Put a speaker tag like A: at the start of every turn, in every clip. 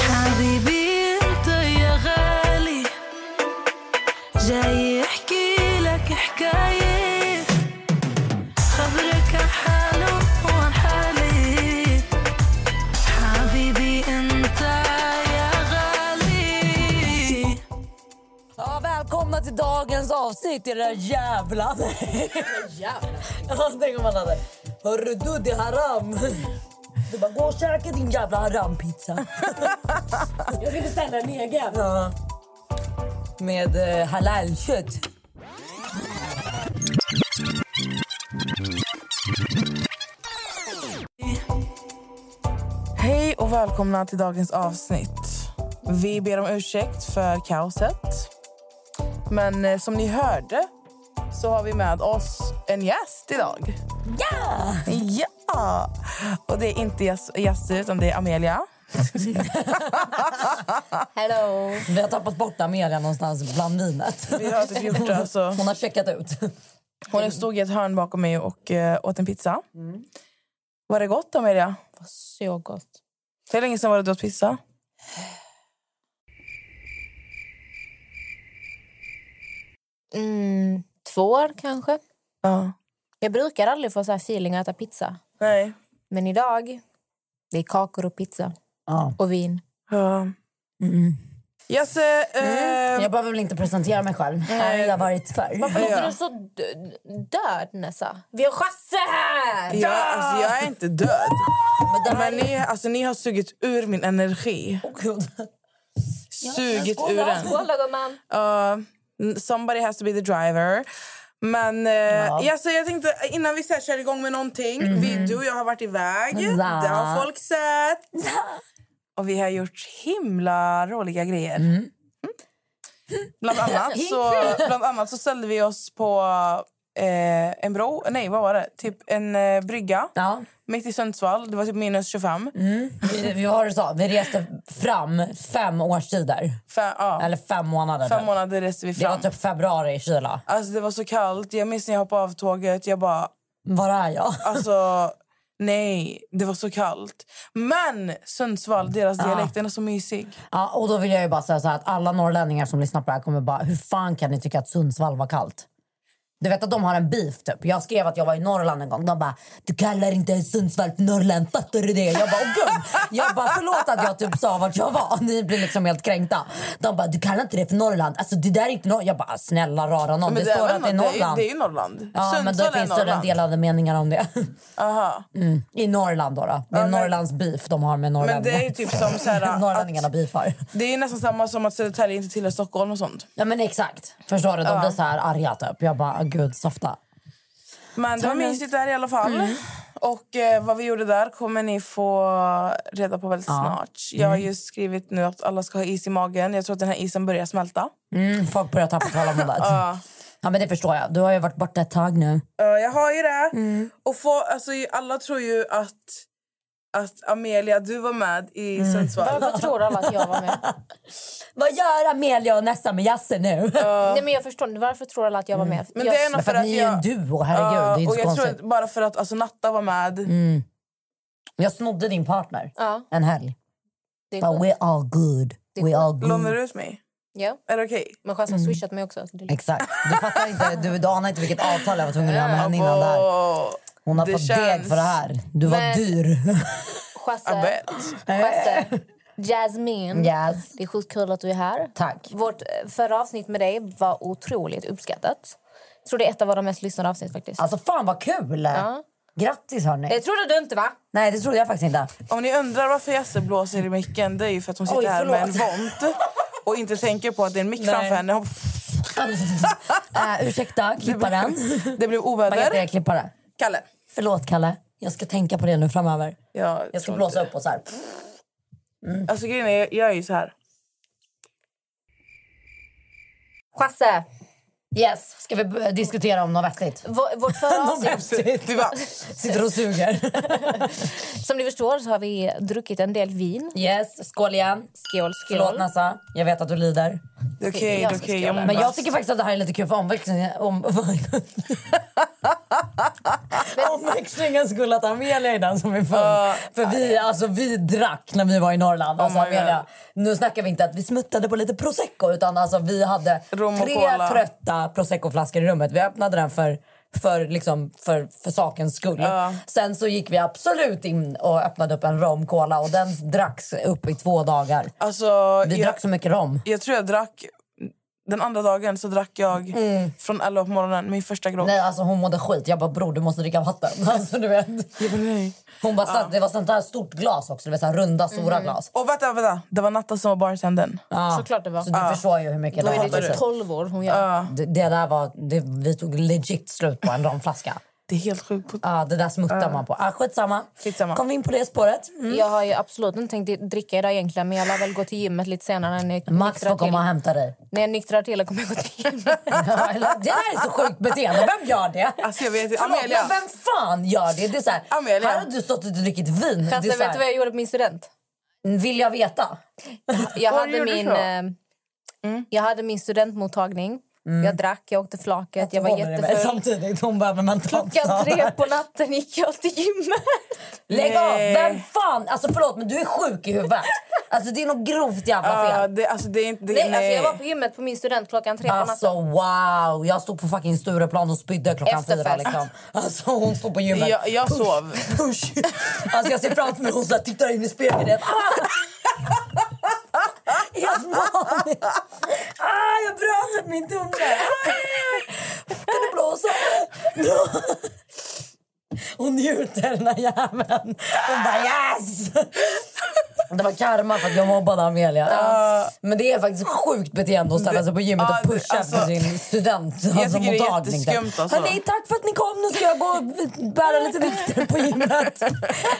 A: حبيبي انت يا غالي جاي احكي لك حكاية خبرك عن حاله وعن حالي حبيبي انت يا غالي
B: Ja, välkomna till dagens avsnitt era jävlar. Jävlar. Tänk om man hade... Hörru du, det är haram. Du bara, gå och käka din jävla harampizza.
C: Jag ska beställa en egen.
B: Ja. Med eh, halalkött.
D: Hej och välkomna till dagens avsnitt. Vi ber om ursäkt för kaoset. Men eh, som ni hörde så har vi med oss en gäst idag.
B: Ja!
D: Ja! Och det är inte gäst- gäster utan det är Amelia.
C: Hello.
B: Vi har tappat bort Amelia någonstans bland vinet.
D: Vi har typ gjort det, alltså.
B: Hon har checkat ut.
D: Hon stod i ett hörn bakom mig och eh, åt en pizza. Var det gott Amelia?
C: Så gott.
D: Hur länge sedan var det du åt pizza?
C: Mm, två år kanske.
D: Ja.
C: Jag brukar aldrig få så här feeling att äta pizza.
D: Nej.
C: Men idag, det är kakor och pizza.
B: Ja.
C: Och vin.
D: Ja. Yes, eh, eh,
B: Jag behöver väl inte presentera mig själv. Här har jag
C: Eh,
B: varit förr.
C: Varför låter
D: Ja.
C: du så d- död Nessa? Vi har chasse här!
D: jag, alltså, jag är inte död.
B: Men det här
D: Men
B: är...
D: ni, alltså, ni har sugit ur min energi.
B: Åh, gud.
D: Sugit ur den.
C: Skål då gumman!
D: Uh, somebody has to be the driver. Men eh, ja. alltså, jag tänkte innan vi så här, kör igång med någonting. Vi, du och jag har varit iväg.
B: Mhm. Ja.
D: Det har folk sett. Och vi har gjort himla roliga grejer. Mm. Bland, annat så, bland annat så ställde vi oss på eh, en bro, nej vad var det? Typ en eh, brygga.
B: Ja. Mm.
D: Mitt i Sundsvall, det var typ minus 25.
B: Vi, vi, har det så. vi reste fram fem årstider.
D: Fem, ja,
B: Eller fem månader.
D: fem
B: typ.
D: månader reste vi
B: Det var
D: fram.
B: typ februari i kyla.
D: Alltså det var så kallt. Jag minns när jag hoppade av tåget. Jag bara,
B: Var är jag?
D: alltså nej, det var så kallt. Men Sundsvall, deras dialekt, den är så mysig.
B: Ja, och då vill jag ju bara säga så här att alla norrlänningar som lyssnar på det här kommer bara, hur fan kan ni tycka att Sundsvall var kallt? Du vet att de har en beef typ. Jag skrev att jag var i Norrland en gång. De bara, du kallar inte ens Sundsvall för Norrland, fattar du det? Jag bara, åh gud. Jag bara, förlåt att jag typ sa vart jag var. Ni blir liksom helt kränkta. De bara, du kallar inte det för Norrland. Alltså det där är inte Norrland. Jag bara, snälla rara någon. Det,
D: är
B: står
D: väl
B: att det är
D: något-
B: Norrland.
D: Det är, det är ju Norrland.
B: ja, men då
D: Sundsvall är
B: finns det
D: Norrland.
B: delade meningar om det. Mm.
D: Aha.
B: I Norrland då. då. Det är Norrlands beef de har med
D: Men det är ju
B: norrlänningarna.
D: typ som så här, att,
B: Norrlänningarna beefar.
D: det är ju nästan samma som att Södertälje inte tillhör Stockholm och sånt.
B: Ja men exakt. Förstår du? De blir så här arga typ. Jag bara, gud softa.
D: Men det var mysigt där i alla fall.
B: Mm.
D: Och eh, vad vi gjorde där kommer ni få reda på väldigt snart. Jag har
B: Mm.
D: ju skrivit nu att alla ska ha is i magen. Jag tror att den här isen börjar smälta.
B: Mm, folk börjar tappa tålamodet. ja. ja men det förstår jag. Du har ju varit borta ett tag nu.
D: Ja, jag har ju det.
B: Mm.
D: Och få, alltså, alla tror ju att, att Amelia, du var med i
B: Mm.
D: Sundsvall.
C: Varför tror alla att jag var med?
B: Vad gör Amelia och Nessa med Jasse nu?
C: Nej, men jag förstår inte. Varför tror alla att jag var med?
D: Men
C: jag,
D: det är nog
B: För
D: för
B: att
D: att
B: ni är ju en
D: jag...
B: duo, herregud.
D: Ja,
B: det är inte
D: och
B: så
D: jag tror
B: konstigt. Mm.
D: att bara för att alltså, Natta var med.
B: Jag snodde din partner
C: Ja,
B: en helg.
C: det är
B: But
C: sjukt.
B: we all good. We all
D: Lånar
B: good.
D: du ut mig?
C: Ja.
D: Är det okej?
B: Mm.
C: Men Chasse har swishat mig också. Det är lugnt.
B: Exakt. Du fattar inte, du, du anar inte vilket avtal jag var tvungen att göra med henne innan det här.
D: Åh,
B: Hon har
D: det
B: fått
D: känns.
B: deg för det här. Du var
C: Men-
B: dyr.
D: I
C: Chasse,
D: bet.
C: Chasse, Jasmine.
B: yes.
C: Det är sjukt kul att du är här.
B: Tack.
C: Vårt eh, förra avsnitt med dig var otroligt uppskattat. Jag tror det är ett av våra mest lyssnade avsnitt faktiskt.
B: Alltså fan vad kul! Grattis hörni.
C: Det trodde du inte va?
B: Nej det trodde jag faktiskt inte.
D: Om ni undrar varför Jesse blåser i micken, det är ju för att hon sitter
B: Oj,
D: här med en
B: förlåt.
D: vont och inte tänker på att det är en mick
B: Nej.
D: framför henne. Hon-
B: uh, ursäkta, klipparen.
D: Det blev
B: Vad heter jag
D: oväder.
B: klippare?
D: Kalle.
B: Förlåt Kalle. Jag ska tänka på det nu framöver.
D: Jag,
B: Jag ska
D: tror
B: blåsa
D: inte
B: upp och så här.
D: det. Alltså grejen är, jag är ju så här.
C: Chasse,
B: Yes, ska vi b- diskutera om något vettigt?
C: vå- vårt förra avsnitt...
D: Vi bara,
B: Sitter och suger.
C: Som ni förstår så har vi druckit en del vin.
B: Yes, skål igen.
C: Skål, skål.
B: Förlåt Nassa, jag vet att du lider.
D: det är okej,
C: Jag
D: det är
C: ska
D: okej.
C: skåla.
D: Jag mår
B: Men
D: bra.
B: jag tycker faktiskt att det här är lite kul för omväxlingen, om, omväxlingen skulle att Amelia är den som är full. för vi, alltså, vi drack när vi var i Norrland. Alltså,
D: my God.
B: Amelia, nu snackar vi inte att vi smuttade på lite prosecco utan alltså, vi hade
D: Rom och
B: tre
D: cola.
B: trötta proseccoflaskor i rummet. Vi öppnade den för för, liksom, för, för sakens skull. Sen så gick vi absolut in och öppnade upp en rom cola och den dracks upp i två dagar.
D: Alltså,
B: Vi
D: jag,
B: drack så mycket rom.
D: jag tror jag drack... Den andra dagen så drack jag från 11 på morgonen, min första grogg.
B: Mm. Nej, alltså hon mådde skit. Jag bara, bror du måste dricka vatten. Alltså, du vet.
D: Jag bara, nej.
B: Hon bara, satt, det var sånt där stort glas också. Det var så här runda, stora glas.
D: Och vänta, vänta. Det var Natta som var bartendern.
B: Ja.
C: Såklart det var.
B: Så du förstår ju hur mycket
C: Då
B: det
C: är
B: var.
C: det typ 12 år hon gör.
B: Det, det där var, det, vi tog legit slut på en romflaska.
D: Det är helt sjukt. På...
B: Ja, det där smuttar man på. Ah, skitsamma.
D: Skitsamma.
B: Kom vi in på det spåret? Mm.
C: Jag har ju absolut inte tänkt dricka idag egentligen men jag lär väl gå till gymmet lite senare när jag
B: Max
C: nyktrar
B: får komma och
C: till.
B: hämta dig.
C: När jag nyktrar till kommer jag gå till gymmet.
B: Ja, eller- det där är så sjukt beteende. Vem gör det?
D: Alltså, jag vet,
B: Förlåt,
D: Amelia.
B: men vem fan gör det? det är så här,
D: Amelia.
B: Här har du stått och druckit vin. Det är
C: Chasse, vet
B: så
C: du vad
B: här,
C: jag gjorde på min student?
B: vill jag veta?
C: Jag
D: Vad
C: hade
D: gjorde du
C: min,
D: då?
C: eh, jag hade min studentmottagning. Jag drack, jag åkte flaket, jag var
B: Håller det Mm. med?
C: jättefull.
B: Samtidigt, hon behöver mentalt
C: Klockan
B: stöd.
C: tre på natten gick jag till gymmet.
B: Lägg av!
D: Nej.
B: Vem fan? Alltså förlåt men du är sjuk i huvudet. Alltså det är något grovt jävla fel.
D: Ja, det, alltså, det är inte... Det,
C: Nej, alltså jag var på gymmet på min student klockan tre på natten.
B: Alltså wow! Jag stod på fucking Stureplan och spydde klockan
C: Efterfest.
B: fyra. Liksom. Alltså hon stod på gymmet.
D: jag, jag sov.
B: Push. Alltså jag ser framför mig hon så här, tittar in i spegeln. Ah! Helt vanligt. Ah, jag bröt upp min tumme! Ah! Kan du blåsa? Hon njuter, den här jäveln. Hon bara yes! Det var karma för att jag mobbade Amelia. Men det är faktiskt sjukt beteende att ställa sig på gymmet
D: Ja,
B: och pusha
D: alltså,
B: efter sin student. Alltså,
D: tycker det är
B: mottagning.
D: jätteskumt, alltså.
B: Hörni, tack för att ni kom. Nu ska jag gå och bära lite vikter på gymmet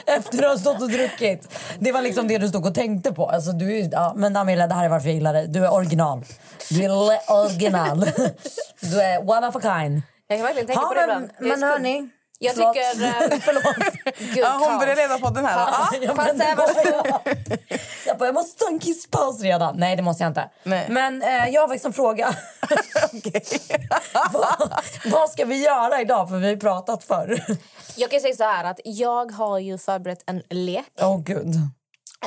B: efter att ha stått och druckit. Det var liksom det du stod och tänkte på. Alltså, du, är- ja, men Amelia, det här är varför jag gillar dig. Du är original. Du är le- original. Du är one of a kind.
C: Jag kan verkligen tänka
B: Ja,
C: på det
B: men,
C: ibland. Det är
B: men
C: skumt.
B: hörni.
C: Jag
B: förlåt.
C: tycker... eh, Gud,
D: Ja, hon
C: kaos. eh,
D: började leda podden här. va?
B: Ja, jag, men,
C: Passa,
B: jag, jag bara, jag måste ta en kisspaus redan. Nej, det måste jag inte.
D: Nej.
B: Men eh, jag har faktiskt en fråga.
D: Okej.
B: vad, vad ska vi göra idag? För vi har ju pratat förr.
C: Jag kan säga så här att jag har ju förberett en lek.
B: Åh oh, gud.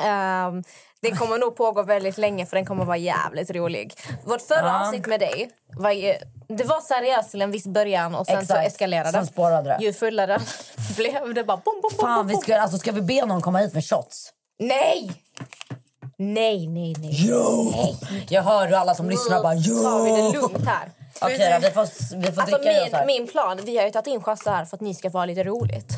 C: Ehm, den kommer nog pågå väldigt länge för den kommer vara jävligt rolig. Vårt förra
B: Ja.
C: avsnitt med dig var ju, det var seriöst till en viss början och sen så
B: Exakt.
C: eskalerade
B: Sen spårade det.
C: Ju fullare den blev det bara bom, bom, bom,
B: Fan,
C: bom,
B: vi
C: bom.
B: ska, alltså, ska vi be någon komma hit med shots?
C: Nej! Nej, nej, nej.
B: Jo! Jag hör hur alla som lyssnar bara
C: Nu
B: jo!
C: tar vi det lugnt här.
B: Okej då, vi får, vi får
C: Alltså
B: dricka i oss här.
C: min, min plan, vi har ju tagit in Chasse här för att ni ska få ha lite roligt.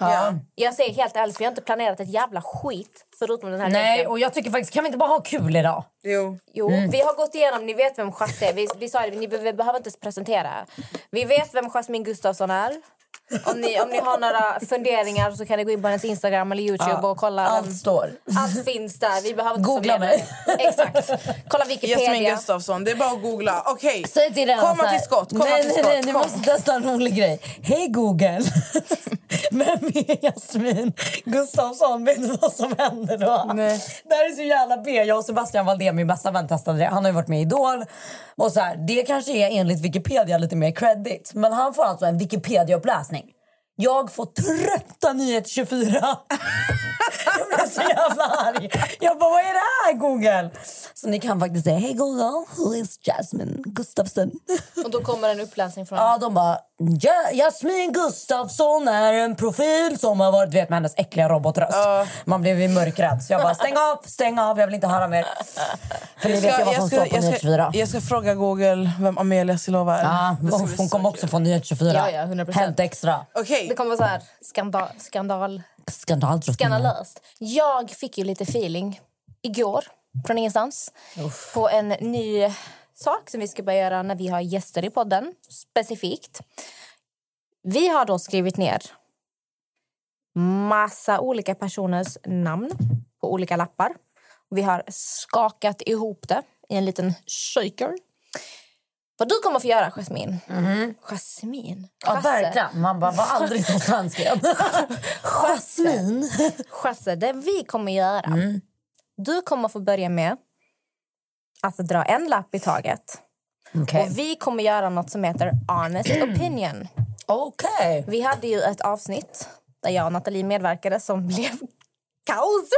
D: Ja.
C: Jag säger helt ärligt, vi har inte planerat ett jävla skit förutom den här
B: Nej,
C: leken.
B: och Mm. jag tycker faktiskt, kan vi inte bara ha kul idag?
D: Jo.
C: Jo, vi har gått igenom, ni vet vem Chasse är. Vi, vi sa det, ni be- vi behöver inte ens presentera. Vi vet vem Jasmine Gustafsson är. Om ni, om ni har några funderingar så kan ni gå in på hennes Instagram eller Youtube och kolla. vem-
B: Allt står.
C: Allt finns där. Vi behöver inte
B: Googla
C: förmedla
B: mig.
C: det. Exakt. Kolla
D: Jasmine
C: Wikipedia.
D: Gustafsson, det är bara att googla. Okej,
B: Säg till den
D: komma
B: så här,
D: till skott. Komma
B: nej,
D: till
B: nej,
D: skott.
B: nej, ni
D: kom.
B: måste testa en rolig grej. Hej Google! Vem är Jasmin Gustafsson? Vet du vad som händer då?
D: Nej.
B: Det här är så jävla B. Jag och Sebastian Valdén, min bästa vän, testade det. Han har ju varit med i Idol. Och så här, det kanske är enligt Wikipedia lite mer credit. Men han får alltså en Wikipedia-uppläsning. Jag får trötta nyheter 24. Jag blev så jävla arg. Jag bara, vad är det här Google? Så ni kan faktiskt säga, hej Google, who is Jasmine Gustafsson?
C: Och då kommer en uppläsning från
B: Ja, de bara, ja, Jasmine Gustafsson är en profil som har varit, du vet med hennes äckliga robotröst. Man blev ju mörkrädd. Så jag bara, stäng av, stäng av, jag vill inte höra mer. För ni vet ju vad som står på
D: jag, ska,
B: Nyhets24.
D: jag ska fråga Google vem Amelia Silova är.
B: Ja,
D: Det ska
B: och
D: bli
B: hon
D: så
B: kommer
D: kul.
B: också från Nyhets24.
C: Ja, ja, 100%.
B: Hänt extra.
D: Okej,
C: Det kommer vara så här skandal, skandal,
B: Skandaldrottningen.
C: skandalöst.
B: Mm.
C: Jag fick ju lite feeling igår från ingenstans på en ny sak som vi ska börja göra när vi har gäster i podden specifikt. Vi har då skrivit ner massa olika personers namn på olika lappar. Vi har skakat ihop det i en liten shaker. Vad du kommer få göra, Jasmin. Jasmin?
B: Mm-hmm. Ja,
C: Jasse.
B: verkligen. Man bara, var aldrig så svensk igen. Jasmin.
C: Chasse, det vi kommer göra...
B: Mm.
C: Du kommer få börja med att dra en lapp i taget.
B: Okej.
C: Och Vi kommer göra något som heter honest opinion.
B: Okej.
C: Vi hade ju ett avsnitt där jag och Nathalie medverkade som blev kaos.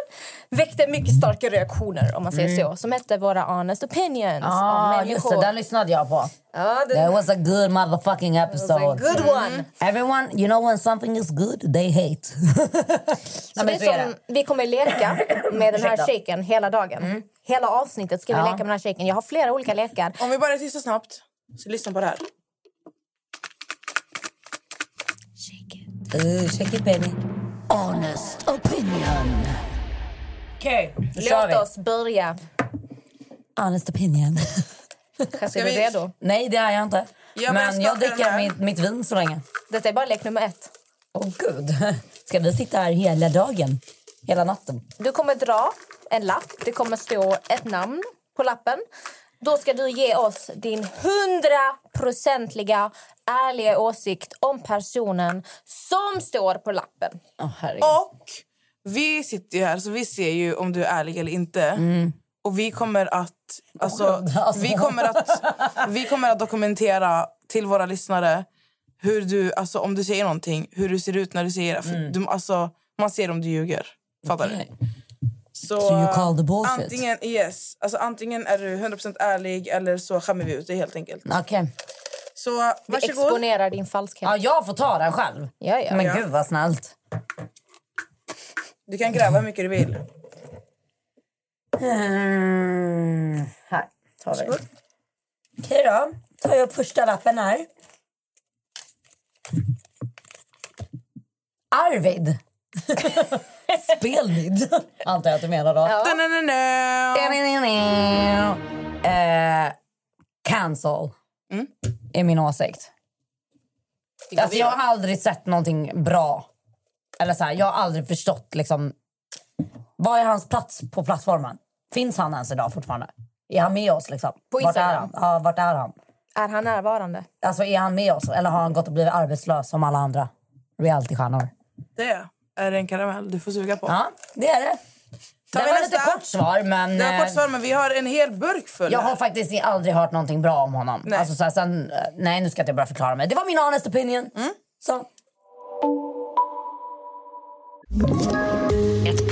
C: Väckte mycket starka reaktioner, om man säger så. Som hette Våra honest opinions
B: Mm. Ah,
C: om
B: just
C: människor.
B: det, den lyssnade jag på.
C: ja, det
B: That was a good motherfucking episode. Mm.
C: was a good one.
B: Everyone, you know when something is good, they hate.
C: Så
B: Nej, men
C: det är som, vi kommer leka med den här
B: Ursäkta. Mm.
C: shaken hela dagen. Hela avsnittet ska vi
B: Ja.
C: leka med den här shaken. Jag har flera olika lekar.
D: Om vi bara är tysta snabbt, så lyssna på det här.
B: Uh, check it baby. Honest opinion. Okej, då kör vi.
C: Låt oss börja.
B: Honest opinion.
C: Jassi, är
D: vi-
C: du redo?
B: Nej, det är jag inte.
D: Jag börjar
B: men
D: smaka
B: jag
D: den
B: dricker
D: här.
B: mitt, mitt vin så länge.
C: Detta är bara lek nummer ett.
B: Åh gud. Ska vi sitta här hela dagen? Hela natten?
C: Du kommer dra en lapp. Det kommer stå ett namn på lappen. Då ska du ge oss din hundraprocentiga ärliga åsikt om personen som står på lappen.
B: Åh herregud.
D: Och vi sitter ju här, så vi ser ju om du är ärlig eller inte.
B: Mm.
D: Och vi kommer att... Alltså,
B: alltså.
D: Vi, kommer att vi kommer att dokumentera till våra lyssnare hur du, alltså, om du säger någonting, hur du ser ut när du säger det. För
B: Mm.
D: du, alltså, man ser om du ljuger. Fattar du? Så,
B: So you call the bullshit?
D: Antingen, yes, alltså, antingen är du 100% ärlig eller så skämmer vi ut dig helt enkelt.
B: Okej.
D: Så varsågod.
C: Exponera din falskhet.
B: Ja, jag får ta den själv.
C: Ja, ja.
B: Men
D: Ja.
B: gud vad snällt.
D: Du kan gräva hur mycket du vill.
B: Mm, här tar vi. Okej då. Tar jag upp första lappen här. Arvid. Spelvid. Antar jag att du menar då.
C: Ja.
D: Da-na-na-na.
B: Eh, cancel.
D: Mm.
B: Är min åsikt. Alltså, jag har aldrig sett någonting bra. Eller så här, jag har aldrig förstått liksom... Vad är hans plats på plattformen? Finns han ens idag fortfarande? Är han med oss liksom?
C: På
B: vart är han?
C: Instagram?
B: Ja, vart är han?
C: Är han närvarande?
B: Alltså är han med oss eller har han gått och blivit arbetslös som alla andra realitystjärnor?
D: Det är en karamell du får suga på.
B: Ja, det är det.
D: Tar
B: det
D: vi
B: var lite
D: nästa?
B: kort svar men...
D: Det var
B: eh,
D: kort svar, men vi har en hel burk full.
B: Jag
D: här.
B: har faktiskt aldrig hört någonting bra om honom. Nej. Alltså, så här, sen, eh, nej, nu ska inte jag bara förklara mig. Det var min honest opinion. Så.
E: Ett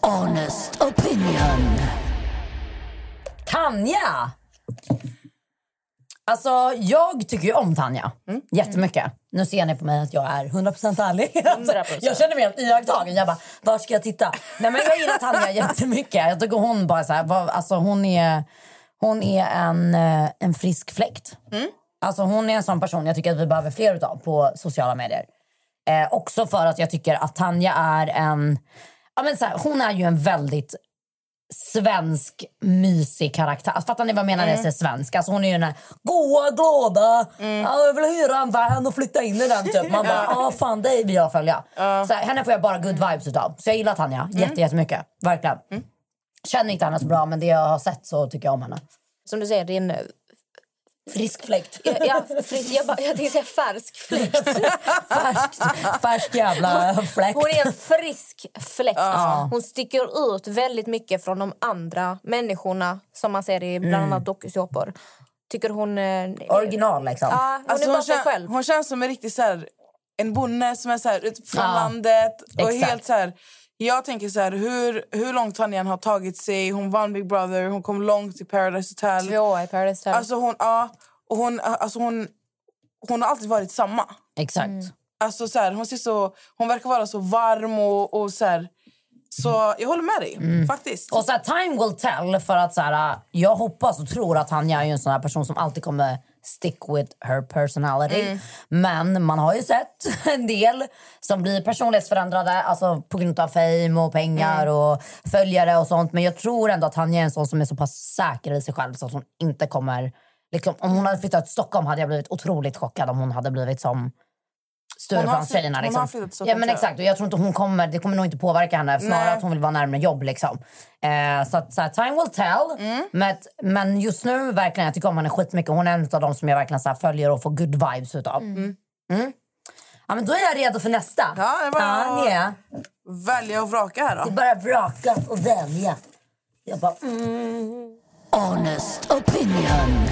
B: Honest opinion. Tanja! Alltså, jag tycker ju om Tanja jättemycket. Nu ser ni på mig att jag är 100% ärlig. Jag känner mig helt iakttagen. Jag bara, var ska jag titta? Nej, men jag gillar Tanja jättemycket. Jag tycker hon bara så här, vad- alltså hon är, hon är en, eh, en frisk fläkt. Alltså hon är en sån person jag tycker att vi behöver fler utav på sociala medier. Eh, också för att jag tycker att Tanja är en... Ja, men så här, hon är ju en väldigt svensk mysig karaktär. Alltså, fattar ni vad jag menar när
C: Mm.
B: jag säger svensk? Alltså, hon är ju den här goa, glada, ja, jag vill hyra en van och flytta in i den typ. Man bara, ja ah, fan dig vill jag följa. Så här, henne får jag bara good vibes utav. Så jag gillar Tanja
C: Mm.
B: jätte, jättemycket. Verkligen. Känner inte henne så bra men det jag har sett så tycker jag om henne.
C: Som du säger, din...
B: Frisk fläkt.
C: Jag, jag, fri- jag, bara- jag tänkte säga färsk fläkt.
B: Färsk, färsk jävla fläkt.
C: Hon är en frisk fläkt. Hon sticker ut väldigt mycket från de andra människorna som man ser i bland annat dokusåpor. Tycker hon... eh,
B: Original liksom.
C: Ja, hon
D: Alltså,
C: är bara
D: hon,
C: sig
D: kän,
C: själv.
D: hon känns som en riktig så här, en bonde som är så här, ut från
B: Ja,
D: landet. Och
B: exakt.
D: helt så här, jag tänker så här, hur, hur långt Tanja har tagit sig. Hon vann Big Brother, hon kom långt i Paradise Hotel.
C: Tvåa i Paradise Hotel.
D: Alltså hon, ja, och hon, alltså hon, hon har alltid varit samma.
C: Mm.
B: Exakt.
D: Alltså så här, hon, ser så, hon verkar vara så varm och, och så här. Så jag håller med dig, faktiskt.
B: Mm. Och så här, time will tell. För att så här, jag hoppas och tror att Tanja är ju en sån här person som alltid kommer stick with her personality. Men man har ju sett en del som blir personlighetsförändrade alltså på grund av fame och pengar och följare och sånt. Men jag tror ändå att Tanja är en sån som är så pass säker i sig själv så att hon inte kommer... Liksom, om hon hade flyttat till Stockholm hade jag blivit otroligt chockad om hon hade blivit som
D: flytt-
B: Stureplanstjejerna.
D: hon
B: Liksom.
D: har flyttat till
B: ja,
D: Stockholm, tror
B: men
D: jag.
B: exakt. Och jag tror inte hon kommer, det kommer nog inte påverka henne. Snarare
D: Nej.
B: att hon vill vara närmare jobb. Liksom. Eh, så att, så här, time will tell.
D: Mm.
B: Men, men just nu verkligen, jag tycker om henne skitmycket. Hon är en av de som jag verkligen så här, följer och får good vibes utav. Mm. Ja, men då är jag redo för nästa.
D: Ja, det var-
B: Tanja,
D: Välja och vraka här
B: det är
D: då.
B: bara vraka och välja. Jag bara... Mm. Honest opinion.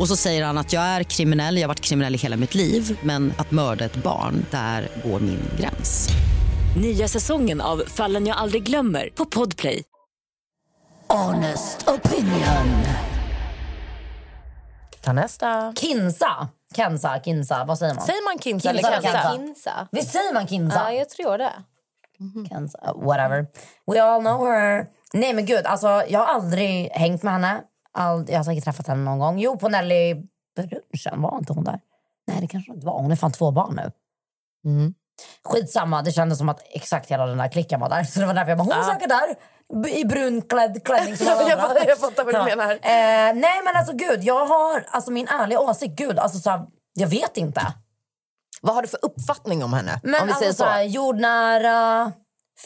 F: Och så säger han att jag är kriminell, jag har varit kriminell i hela mitt liv men att mörda ett barn, där går min gräns.
E: Nya säsongen av Fallen jag aldrig glömmer på Podplay.
B: Honest opinion.
G: Ta nästa.
B: Kinsa. Kensa, Kinsa. Vad säger man?
G: Säger man Kinsa eller Kensa?
B: Kinsa. Visst säger man Kinsa?
C: Ja, jag tror det.
G: Mm.
B: Kensa. uh, Whatever. We all know her. Nej men gud, alltså, jag har aldrig hängt med henne. Ald- jag har säkert träffat henne någon gång. Jo, på Nelly brunchen var inte hon där? Nej, det kanske inte var. Hon är fan två barn nu.
G: Mm.
B: Skitsamma, det kändes som att exakt hela den där klicken var där. Så det var därför jag bara, hon
G: Ja.
B: är säkert där. b- I brunklädd klänning som alla
G: Jag
B: andra.
G: fattar- jag fattar vad du
B: Ja.
G: menar.
B: Eh, nej men alltså gud, jag har, alltså min ärliga åsikt, gud, alltså så här, jag vet inte.
G: Vad har du för uppfattning om henne?
B: Men
G: om vi
B: alltså
G: säger
B: så.
G: så.
B: här, jordnära,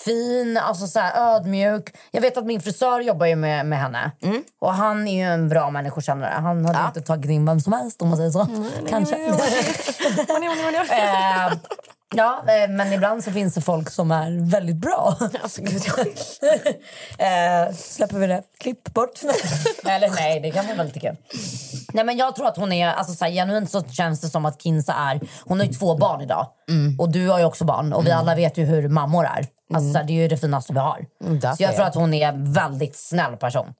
B: fin, alltså så här, ödmjuk. Jag vet att min frisör jobbar ju med, med henne.
G: Mm.
B: Och han är ju en bra människokännare. Han hade inte tagit in vem som helst om man säger så.
G: Mm,
B: Kanske. Eh, Ja, eh, men ibland så finns det folk som är väldigt bra. Alltså, gud, eh, släpper vi det? Klipp bort. Eller nej, det kan man väl tycka. Nej, men jag tror att hon är... Alltså, så här, genuint så känns det som att Kinsa är... Hon har ju två barn idag.
G: Mm.
B: Och du har ju också barn. Och vi alla vet ju hur mammor är. Alltså, så här, det är ju det finaste vi har.
G: Mm, därför
B: så jag tror
G: är
B: att hon är en väldigt snäll person.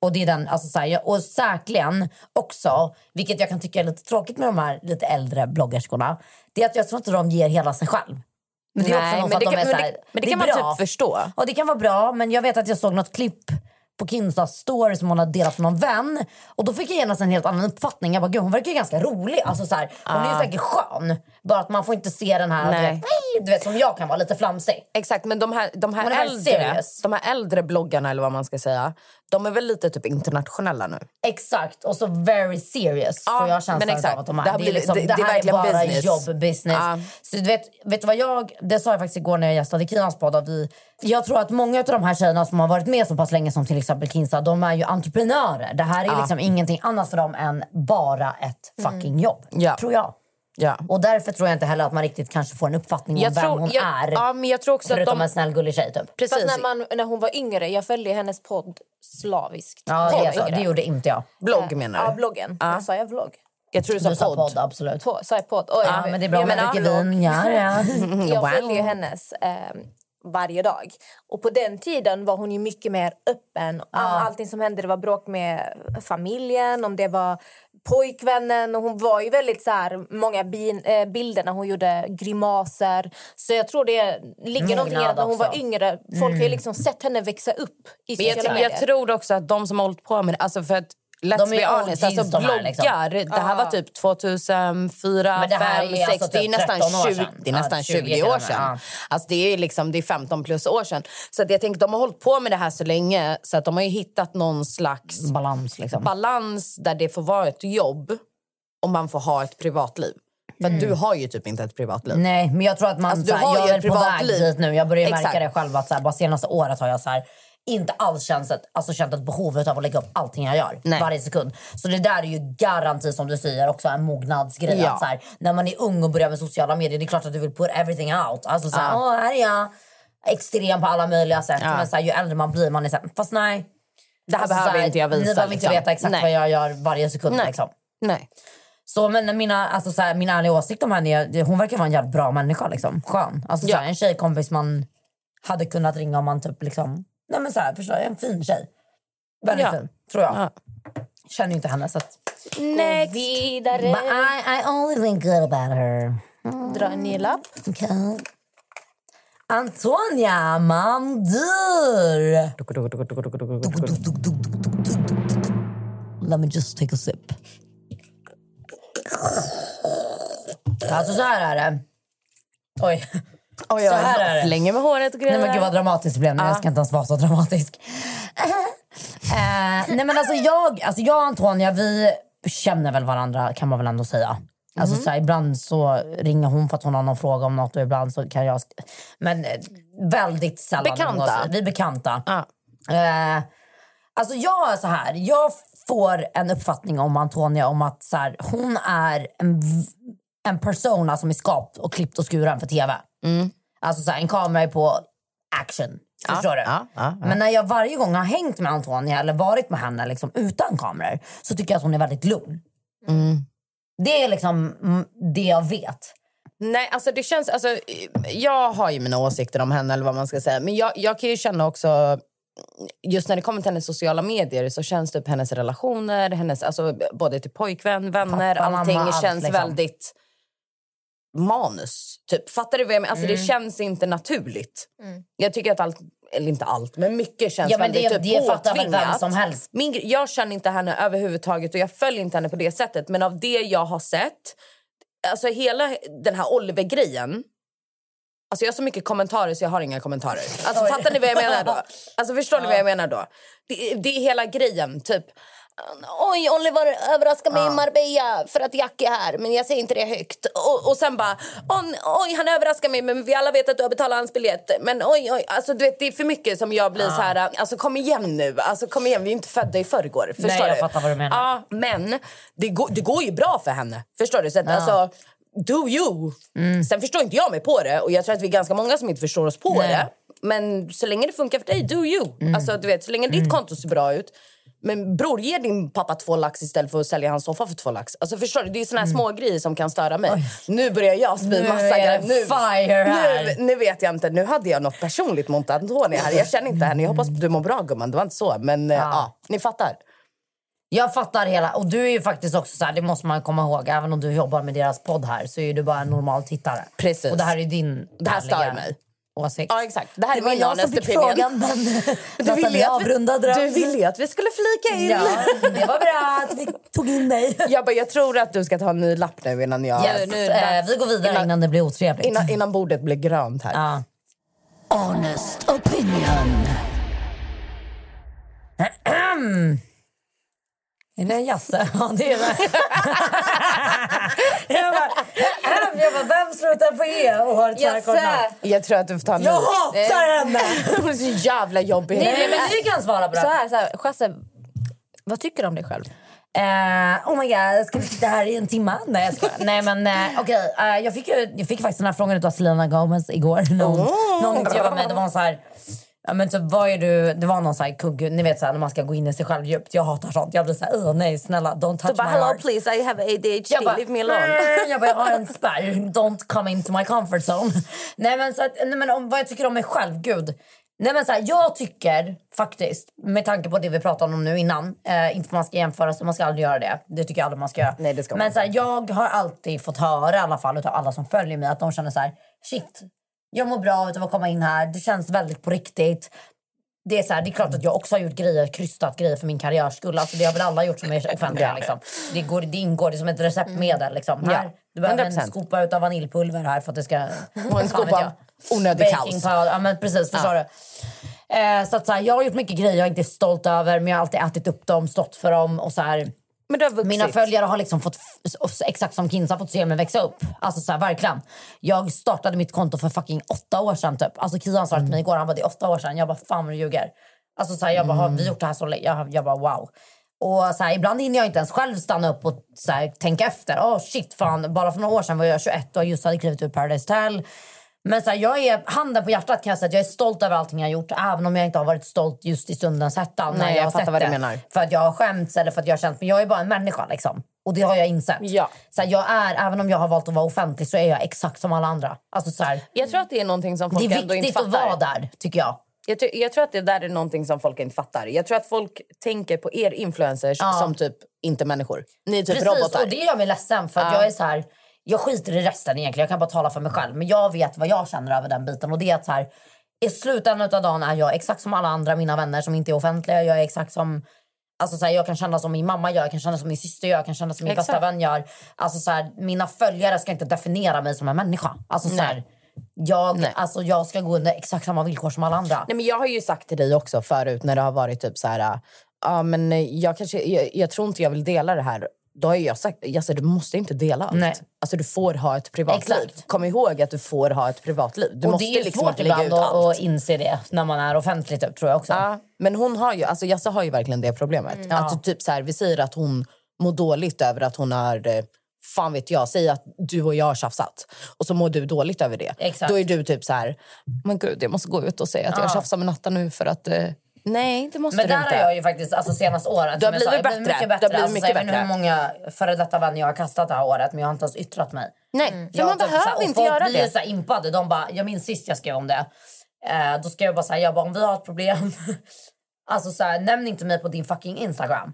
B: Och det är den, alltså så här, jag- och säkerligen också, vilket jag kan tycka är lite tråkigt med de här lite äldre bloggerskorna, det är att jag tror inte de ger hela sig själv. Men det är
G: Nej,
B: också något
G: men
B: att
G: det
B: de
G: kan-
B: är så
G: men det-
B: här,
G: men det
B: är
G: kan man
B: bra.
G: typ förstå.
B: Och det kan vara bra, men jag vet att jag såg något klipp på Kinsas story som hon hade delat med någon vän. Och då fick jag genast en helt annan uppfattning. Jag bara, gud hon verkar ju ganska rolig. Alltså så här, hon är
G: Ah.
B: ju säkert skön. Bara att man får inte se den här,
G: Nej.
B: du vet, "Hej", du vet som jag kan vara, lite flamsig.
G: Exakt, men de här, de,
B: Men de
G: här
B: här
G: äldre,
B: serious.
G: de här äldre bloggarna eller vad man ska säga, de är väl lite typ internationella nu?
B: Exakt, och så very serious.
G: Ja,
B: får jag känslan
G: men exakt.
B: av att de är.
G: Det här
B: Det, är
G: blir-
B: liksom,
G: det-
B: det,
G: det är
B: här är
G: verkligen
B: bara
G: business.
B: jobb, business.
G: Ja.
B: Så du vet, vet du vad jag, det sa jag faktiskt igår när jag gästade Kinas podd. Att vi, jag tror att många av de här tjejerna som har varit med så pass länge som till exempel Kinsa, de är ju entreprenörer. Det här är
G: Ja. Mm.
B: liksom ingenting annat för dem än bara ett fucking jobb.
G: Ja.
B: Tror jag.
G: Ja.
B: Och därför tror jag inte heller att man riktigt kanske får en uppfattning om
G: Jag
B: vem
G: tror-
B: hon
G: jag-
B: är.
G: ja, men jag tror också att
B: förutom
G: de-
B: en snäll gullig tjej typ.
C: Fast när, man, när hon var yngre, jag följde hennes podd slaviskt.
B: Ja,
C: Podd
B: det, är så.
C: yngre.
B: det gjorde inte jag.
G: Blogg menar du?
C: Ja, bloggen.
G: Ja.
C: Sa jag vlogg?
G: Jag tror du
B: Du
G: sa
B: sa
G: podd.
B: podd, absolut.
C: På, sa jag podd? Oj,
B: Ja, men det är bra
C: jag
B: med
C: menar,
B: vilket vin. Ja, ja.
C: Jag följer ju hennes eh, varje dag. Och på den tiden var hon ju mycket mer öppen. Ja. Allting som hände, det var bråk med familjen, om det var pojkvännen. Och hon var ju väldigt så här, många bin, eh, bilder när hon gjorde grimaser. Så jag tror det ligger någonting i att när hon var
B: också.
C: yngre, folk har ju liksom sett henne växa upp i
G: Men jag,
C: sociala
G: tror- jag
C: medier.
G: tror också att de som har hållit på med det, alltså för att Let's
B: De är
G: be
B: OGs
G: honest, alltså
B: de här,
G: bloggar,
B: liksom.
G: det här var typ 2004,
B: Men det här
G: 5,
B: är
G: 6,
B: alltså
G: det är ju
B: typ
G: nästan
B: 13 år
G: 20,
B: sedan.
G: det är nästan
B: Ja,
G: 20,
B: 20
G: år
B: till och med,
G: sedan.
B: ja.
G: Alltså det är ju liksom, det är 15 plus år sedan. Så att jag tänker, de har hållit på med det här så länge så att de har ju hittat någon slags
B: Balans liksom.
G: balans där det får vara ett jobb och man får ha ett privatliv. För att du har ju typ inte ett privatliv.
B: Mm. Nej, men jag tror att man...
G: Alltså, du
B: så här,
G: har
B: jag
G: ju
B: är
G: ett
B: väl på väg
G: privatliv.
B: dit nu. Jag börjar
G: Exakt.
B: märka det själv. Att så här, bara senaste året har jag så här, inte alls känt, ett, alltså, känt ett behov av att lägga upp allting jag gör.
G: Nej.
B: Varje sekund. Så det där är ju garanti, som du säger, också en mognadsgrej.
G: Ja.
B: Att, så här, när man är ung och börjar med sociala medier, det är klart att du vill put everything out. Alltså så här,
G: Ja.
B: "Åh, här är jag. Extrem på alla möjliga sätt.
G: Ja.
B: Men så här, ju äldre man blir, man är så här, fast nej.
G: Det här behöver
B: alltså så här,
G: inte jag visa.
B: Ni behöver
G: liksom.
B: inte veta exakt
G: Nej.
B: vad jag gör varje sekund.
G: Nej.
B: Liksom.
G: Nej.
B: Så men mina, alltså, så här, min ärliga åsikt om henne, är- det- hon verkar vara en jävligt bra människa. Liksom. Skön. Alltså, så här,
G: Ja.
B: en tjejkompis man hade kunnat ringa om man typ liksom... Nej men så här, förstår jag, en fin tjej. Väldigt
G: Ja.
B: fin, tror jag.
G: Ja.
B: Känner ju inte henne så att...
C: Next. vidare.
B: But I, I only think good about her.
C: Dra en ny lapp.
B: Okay. Antonia Mandur! Let me just take a sip. Alltså så här är det. Oj.
G: Oj,
B: så här är det.
G: Flänger med håret och grejer.
B: Nej men gud vad dramatiskt det blev nu. Jag ska inte ens vara så dramatisk. Eh, nej men alltså jag, alltså jag och Antonia vi känner väl varandra kan man väl ändå säga. Alltså
G: Mhm.
B: så här, ibland så ringer hon för att hon har någon fråga om något och ibland så kan jag... sk- Men eh, väldigt sällan.
G: Bekanta.
B: umgås vi. Vi är bekanta. Eh, alltså jag är så här, jag får en uppfattning om Antonia om att så här, hon är en, v- en persona som är skapt och klippt och skuren för tv. Alltså så här, en kamera är på action.
G: Mm. Ja,
B: Förstår du?
G: ja, ja, ja.
B: Men när jag varje gång har hängt med Antonia eller varit med henne liksom, utan kameror så tycker jag att hon är väldigt lugn.
G: Mm.
B: Det är liksom mm, det jag vet.
G: Nej, alltså det känns... Alltså, jag har ju mina åsikter om henne, eller vad man ska säga. Men jag, jag kan ju känna också... Just när det kommer till hennes sociala medier så känns typ hennes relationer, hennes, alltså, både till pojkvän, vänner,
B: Pappa, mamma,
G: allting
B: allt,
G: känns
B: liksom.
G: väldigt manus. Typ. Fattar du vad jag menar? Alltså, Det
B: Mm.
G: känns inte naturligt. Jag tycker att allt, eller inte allt, men mycket känns
B: Ja, men
G: väldigt
B: det-
G: typ,
B: det fattar väl vem
G: påtvingat.
B: som helst.
G: Min, gre- jag känner inte henne överhuvudtaget och jag följer inte henne på det sättet. Men av det jag har sett, alltså hela den här Oliver-grejen. Alltså jag har så mycket kommentarer så jag har inga kommentarer. Alltså
D: Oj.
G: fattar ni vad jag menar då? Alltså förstår ni vad jag menar då? Det, det är hela grejen, typ. Oj, Oliver överraskar mig i Marbella för att Jack är här, men jag säger inte det högt. Och, och sen bara, "Oj, oj, han överraskar mig, men vi alla vet att du har betalat hans biljett. Men oj, oj, alltså du vet, det är för mycket som jag blir
B: Ja.
G: så här, alltså kom igen nu, alltså kom igen, vi är inte födda i förrgår. Förstår
B: Nej, jag
G: du?
B: fattar vad du menar.
G: Ja, men det, går- det går ju bra för henne, förstår du? Så att,
B: Ja. Mm.
G: alltså, do you! Sen förstår inte jag mig på det och jag tror att vi är ganska många som inte förstår oss på
B: Nej. Mm.
G: det. Men så länge det funkar för dig, do you! Alltså, du vet, så länge ditt konto ser bra ut. Men bror, ge din pappa två lax istället för att sälja hans soffa för två lax. Alltså förstår du? Det är såna här små grejer som kan störa mig. Nu börjar jag spy
B: Mm. Nu
G: massa
B: är det
G: grejer. Nu,
B: fire här.
G: nu, nu vet jag inte. Nu hade jag något personligt mot Antonia här. Jag känner inte henne. Jag hoppas du mår bra gumman. Det var inte så. Men eh, ja, ni fattar.
B: Jag fattar hela. Och du är ju faktiskt också så här, det måste man komma ihåg, även om du jobbar med deras podd här så är du bara en normal tittare.
G: Precis.
B: Och det här är din
G: Det här stör
B: ärliga
G: mig.
B: Åsikt.
G: Ja, exakt. Det här är
B: Det var
G: min
B: jag som
G: honest
B: fick
G: opinion.
B: frågan, men-
G: Men
B: Nathalie
G: ville ju att vi-
B: avrundade den.
G: Du ville ju att vi skulle flika in.
B: Ja, det var bra att vi tog in dig.
G: Jag, bara, jag tror att du ska ta en ny lapp nu innan jag...
B: Yes, eh, vi går vidare innan, det blir otrevligt.
G: Innan, innan bordet blir grönt här.
B: Ja. Honest opinion. Är det en Jasse? Ja, det är det. jag, bara, jag bara, vem slutar på E och har ett tvärkort namn?
G: Jag tror att du får ta en
B: Jag
G: ny. Eh.
B: hatar henne!
G: Hon är så jävla jobbig.
C: Nej, nej, men
B: du kan svara på det.
C: Så här, så här, Chasse, vad tycker du om dig själv?
B: Eh, oh my god, ska vi sitta här i en timme? Nej, jag skojar. Nej, men eh, okej. eh, jag, fick, ju- jag fick faktiskt den här frågan av Selena Gomez igår. Någon,
G: Oh.
B: någon intervjuade mig. Det var en så här... Ja, men typ, vad är du? Det var någon så här kugg... Ni vet så här, när man ska gå in i sig själv djupt. Jag hatar sånt. Jag blir så här, "Ugh, nej snälla, don't touch
G: Du bara,
B: my
G: hello
B: heart.
G: please, I have ADHD,
B: Jag bara,
G: leave me alone.
B: "Mm", jag bara, jag har en spärr. Don't come into my comfort zone. Nej men, så att, nej, men om, vad jag tycker om mig själv, gud. Nej men så här, jag tycker faktiskt, med tanke på det vi pratade om nu innan, eh, inte för man ska jämföra sig, man ska aldrig göra det. Det tycker jag aldrig man ska göra.
G: Nej, det ska man
B: men
G: inte.
B: så här, jag har alltid fått höra i alla fall utav alla som följer mig att de känner så här, shit, jag mår bra utav att komma in här, det känns väldigt på riktigt. Det är, så här, det är klart att jag också har gjort grejer, krystat grejer för min karriärs skull. Alltså, det har väl alla gjort som är offentliga.
G: Ja. Mm.
B: Liksom. Det, går, det ingår det är som ett receptmedel. Liksom.
G: Ja,
B: Här, du behöver en
G: 100%.
B: skopa utav vaniljpulver här för att det ska...
G: Och en
B: Fan vet
G: skopa
B: jag.
G: onödig
B: Baking
G: kaos.
B: powder. Ja, men precis, förstår du. Eh, så att, så här, jag har gjort mycket grejer jag inte är stolt över men jag har alltid ätit upp dem, stått för dem. Och så här,
G: Men du har vuxit.
B: mina följare har liksom fått, f- exakt som Kinsa, fått se mig växa upp. Alltså så här, verkligen. Jag startade mitt konto för fucking åtta år sedan typ. Alltså Kian sa
G: Mm.
B: till mig igår, han bara det är åtta år sedan. Jag bara fan vad du ljuger. Alltså så här, jag bara har
G: Mm.
B: vi gjort det här så länge? Jag, jag bara wow. Och så här, ibland hinner jag inte ens själv stanna upp och så här, tänka efter. Åh shit fan, bara för några år sedan var jag 21 och just hade klivit ur Paradise Hotel. Men så här, jag är, handen på hjärtat kan jag säga att jag är stolt över allting jag har gjort. Även om jag inte har varit stolt just i stundens hetta. när
G: Nej, jag
B: har
G: fattar
B: sett
G: vad du
B: det.
G: menar.
B: För att jag har skämts eller för att jag har känt, men jag är bara en människa liksom. Och det har jag insett. Så här, jag är, även om jag har valt att vara offentlig så är jag exakt som alla andra. Alltså så här,
G: Jag tror att det är någonting som folk
B: det är
G: ändå inte
B: viktigt
G: fattar.
B: att vara där, tycker jag.
G: Jag, tror- jag tror att det där är någonting som folk inte fattar. Jag tror att folk tänker på er influencers
B: Ja.
G: som typ inte människor. Ni är typ
B: Precis,
G: robotar.
B: och det gör mig ledsen för att
G: Ja.
B: jag är så här... jag skiter i resten egentligen, jag kan bara tala för mig själv. Men jag vet vad jag känner över den biten. Och det är att så här, i slutändan av dagen är jag exakt som alla andra mina vänner som inte är offentliga. Jag är exakt som... Alltså så här, jag kan känna som min mamma gör, jag kan känna som min syster gör, jag kan känna som min bästa
G: Exakt.
B: vän gör. Alltså så här, mina följare ska inte definiera mig som en människa. Alltså så
G: Nej.
B: här, jag, alltså jag ska gå under exakt samma villkor som alla andra.
G: Nej, men jag har ju sagt till dig också förut när det har varit typ så här... äh, Ja, men eh, jag, kanske, jag, jag tror inte jag vill dela det här. Då har ju jag sagt alltså, du måste inte dela allt.
B: Nej.
G: Alltså, du får ha ett privatliv.
B: Exakt.
G: Kom ihåg att du får ha ett privatliv. Du
B: och
G: måste
B: det är
G: liksom
B: svårt
G: inte lägga ut
B: ibland att,
G: allt.
B: att inse det när man är offentlig, typ, tror jag också.
G: Ja, men hon har ju, alltså Jassa har ju verkligen det problemet.
B: Mm.
G: Att
B: Ja.
G: typ så här, vi säger att hon mår dåligt över att hon har, eh, fan vet jag, säg att du och jag har tjafsat och så mår du dåligt över det.
B: Exakt.
G: Då är du typ så här, men gud jag måste gå ut och säga att jag
B: Ja.
G: tjafsar med Natta nu för att eh, Nej, det måste
B: men
G: du
B: där
G: inte.
B: har jag ju faktiskt, alltså senaste året...
G: Du har
B: som jag sa,
G: blivit
B: jag har
G: bättre.
B: Mycket bättre.
G: Du har blivit
B: alltså, så
G: mycket
B: jag vet inte hur
G: bättre.
B: många före detta vänner jag har kastat det här året, men jag har inte ens yttrat mig.
G: Nej, för man
B: typ
G: Mm. behöver
B: såhär- och
G: inte
B: folk
G: göra
B: blir
G: det.
B: så impade. De bara, jag minns sist jag skrev om det. Eh, då skrev jag bara så jag bara, om vi har ett problem, alltså så nämn inte mig på din fucking Instagram.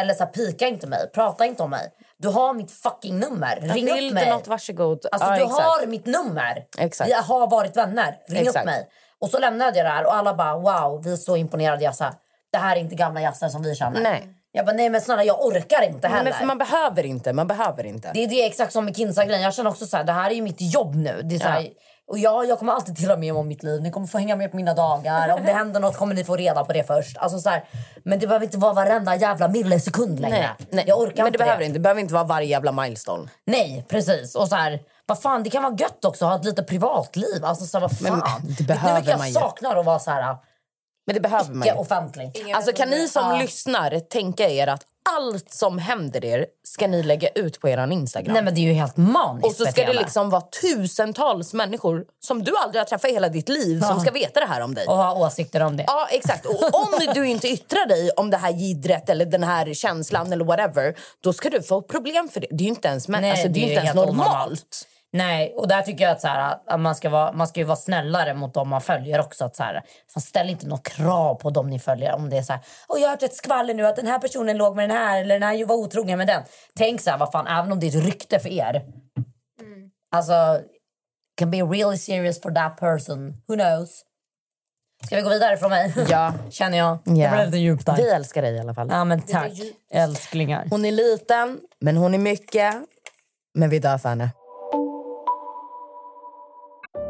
B: Eller så pika inte mig, prata inte om mig. Du har mitt fucking nummer, ring
G: Vill
B: upp
G: du
B: mig.
G: något, varsågod.
B: Alltså,
G: Ja,
B: du
G: exakt.
B: har mitt nummer.
G: Exakt.
B: Vi har varit vänner. Ring
G: Exakt.
B: upp mig. Och så lämnade jag det här och alla bara wow, vi är så imponerade Jassa. Det här är inte gamla Jassa som vi känner.
G: Nej.
B: Jag bara nej men snälla jag orkar inte
G: Nej,
B: heller.
G: men för man behöver inte, man behöver inte.
B: Det är det exakt som med Kinsa-grejen. Jag känner också så här, det här är ju mitt jobb nu. Det är så här, Och jag, jag kommer alltid dela med mig om mitt liv. Ni kommer få hänga med på mina dagar. Om det händer något kommer ni få reda på det först. Alltså så här, men det behöver inte vara varenda jävla millisekund längre.
G: Nej, nej.
B: Jag orkar
G: men
B: inte
G: det behöver
B: det.
G: inte. Det behöver inte vara varje jävla milestone.
B: Nej, precis. Och så här, vad fan, det kan vara gött också att ha ett lite privatliv. Alltså så här, vad
G: Men
B: fan.
G: det
B: Vet ni
G: behöver
B: mycket
G: man ju.
B: jag saknar att vara så här...
G: Men det behöver man
B: icke
G: ju.
B: offentlig.
G: Alltså kan ni som
B: Ja.
G: lyssnar tänka er att allt som händer er ska ni lägga ut på er Instagram.
B: Nej men det är ju helt maniskt
G: och så ska det
B: beteende.
G: liksom vara tusentals människor som du aldrig har träffat i hela ditt liv som
B: Ja.
G: ska veta det här om dig.
B: Och ha åsikter om det.
G: Ja, exakt. Och om du inte yttrar dig om det här gidret eller den här känslan eller whatever, då ska du få problem för det. Det är ju inte ens, men,
B: Nej,
G: alltså, det är ju inte
B: helt
G: ens normalt.
B: onormalt. Nej, och där tycker jag att, så här, att man, ska vara, man ska ju vara snällare mot dem man följer också. Att, så här, fan, ställ inte några krav på dem ni följer. Om det är så här, och jag har hört ett skvaller nu att den här personen låg med den här eller den här var otrogen med den. Tänk så här, vad fan, även om det är ett rykte för er. Alltså, can be really serious for that person. Who knows? Ska vi gå vidare från mig?
G: Ja.
B: Känner jag.
G: Ja.
B: Det blev lite djupt där.
G: Vi älskar dig i alla fall.
B: Ja, men tack. Älsklingar.
G: Hon är liten, men hon är mycket. Men vi dör för henne.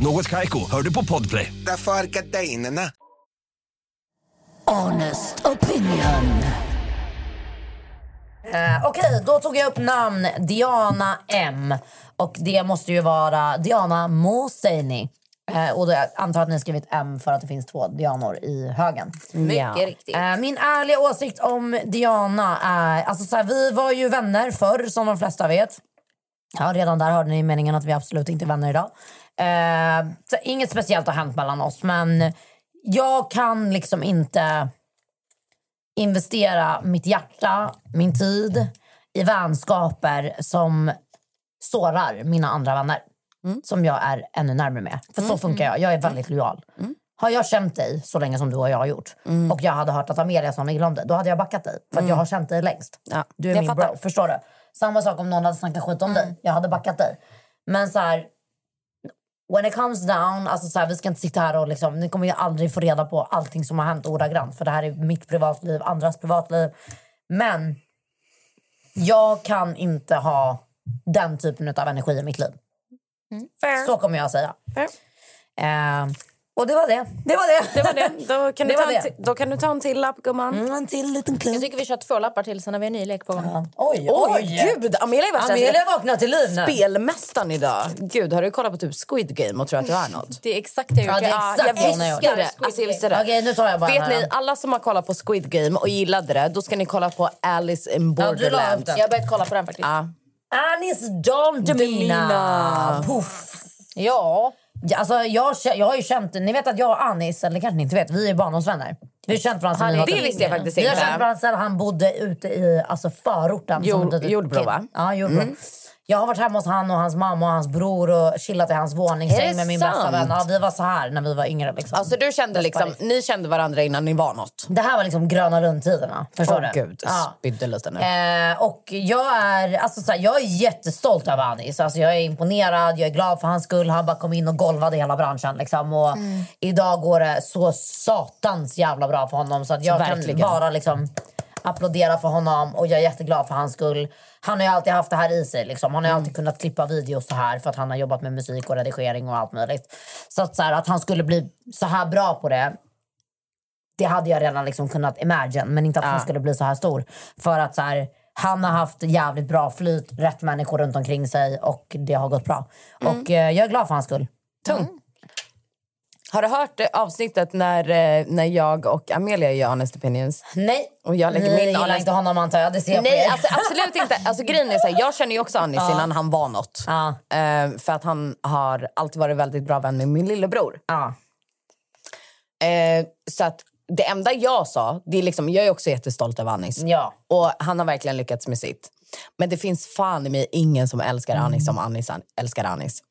H: Något Kaiko, hör du på podplay.
I: Därför är gardinerna.
B: Honest opinion. Eh, Okej, då tog jag upp namn Diana M. Och det måste ju vara Diana Moseini. Eh, och då jag antar att ni har skrivit M för att det finns två Dianor i högen.
G: Mycket riktigt.
B: Eh, min ärliga åsikt om Diana är... Alltså så här, vi var ju vänner förr, som de flesta vet. Ja, redan där hörde ni meningen att vi absolut inte är vänner idag. Eh, så inget speciellt har hänt mellan oss, men jag kan liksom inte investera mitt hjärta, min tid i vänskaper som sårar mina andra vänner.
G: Mm.
B: Som jag är ännu närmare med. För så funkar jag. Jag är väldigt lojal.
G: Mm.
B: Har jag känt dig så länge som du och jag har gjort och jag hade hört att Amelia sa något illa om dig, då hade jag backat dig. För att jag har känt dig längst. Du är
G: Mm. jag
B: min
G: fattar. Mm.
B: bro. Förstår du? Samma sak om någon hade snackat skit om dig. Jag hade backat dig. Men så här, when it comes down, alltså så här, vi ska inte sitta här och liksom, ni kommer ju aldrig få reda på allting som har hänt ordagrant för det här är mitt privatliv, andras privatliv. Men jag kan inte ha den
D: Mm,
B: typen av energi i mitt liv. Så kommer jag säga. Eh,
G: Och det var det. Det var det.
D: Det var det. Då kan,
G: Det
D: du,
G: var
D: ta en
G: det. Mm.
D: ti- då kan du ta en till lapp, gumman.
G: en till liten klubb.
D: Jag tycker vi kör två lappar till sen när vi har en ny lek på gång.
G: Oj,
C: Oj,
G: oj.
C: gud! Amelia, är värsta-
G: Amelia vaknar till liv nu.
C: Spelmästaren idag. Gud, har du kollat på typ Squid Game och tror att du är något?
D: Det är exakt det jag
C: Ja,
D: gjorde.
C: det är
D: Ja, jag
C: exakt jag
D: visste det.
C: gjorde. Alltså, jag visste det.
G: Okej, nu tar jag bara den
C: Vet
G: här
C: ni,
G: då.
C: alla som har kollat på Squid Game och gillade det, då ska ni kolla på Alice in
G: Ja, du la upp
C: Borderland.
G: den.
D: Jag har börjat kolla på den faktiskt.
C: Ja.
G: Anis Don Demina.
C: Demina.
G: Puff. Ja. Alltså, jag, kä- jag har ju känt, ni vet att jag och Anis, eller kanske ni inte vet, vi är barndomsvänner. Vi har känt varandra
C: Han
G: sen vi
C: är-
G: var
C: det
G: typ-
C: visste jag faktiskt
G: Vi har
C: inte.
G: känt varandra sen han bodde ute i alltså, förorten. som
C: Jord-
G: ett litet
C: Jordbro,
G: kid.
C: va?
G: Ja, Jordbro.
C: Mm.
G: Jag har varit hemma hos han och hans mamma och hans bror och chillat i hans
C: Är
G: våningssäng
C: det
G: med min bästa
C: sant?
G: vän. Ja, vi var så här när vi var yngre. Liksom.
C: Alltså, du kände liksom, ni kände varandra innan ni var något.
G: Det här var liksom gröna rundtiderna. Förstår
C: Åh,
G: du?
C: gud, jag
G: Ja.
C: spydde lite nu.
G: Eh, och jag är, alltså, såhär, jag är jättestolt över Anis. Alltså, jag är imponerad, jag är glad för hans skull. Han bara kom in och golvade hela branschen. Liksom. Och Idag går det så satans jävla bra för honom. Så att jag
C: Verkligen.
G: kan bara liksom, applådera för honom och jag är jätteglad för hans skull. Han har ju alltid haft det här i sig. Liksom. Han har ju alltid kunnat klippa videos så här för att han har jobbat med musik och redigering och allt möjligt. Så att, så här, att han skulle bli så här bra på det det hade jag redan liksom kunnat imagine, men inte att han skulle bli så här stor. För att så här, han har haft jävligt bra flyt, rätt människor runt omkring sig och det har gått bra. Och eh, jag är glad för hans skull.
C: Tung. Har du hört eh, avsnittet när, eh, när jag och Amelia gör Honest Opinions?
G: Nej.
C: Och jag lägger
G: Ni
C: min
G: gillar
C: honest-
G: inte honom antar jag, det ser jag på
C: Nej,
G: er.
C: alltså, absolut inte. Alltså, grejen är så här, jag känner ju också Anis
G: Ja.
C: innan han var något. Eh, för att han har alltid varit väldigt bra vän med min lillebror. Eh, så att det enda jag sa, det är liksom, jag är också jättestolt över Anis.
G: Ja.
C: Och han har verkligen lyckats med sitt. Men det finns fan i mig ingen som älskar
G: Mm.
C: Anis som Anis an- älskar Anis.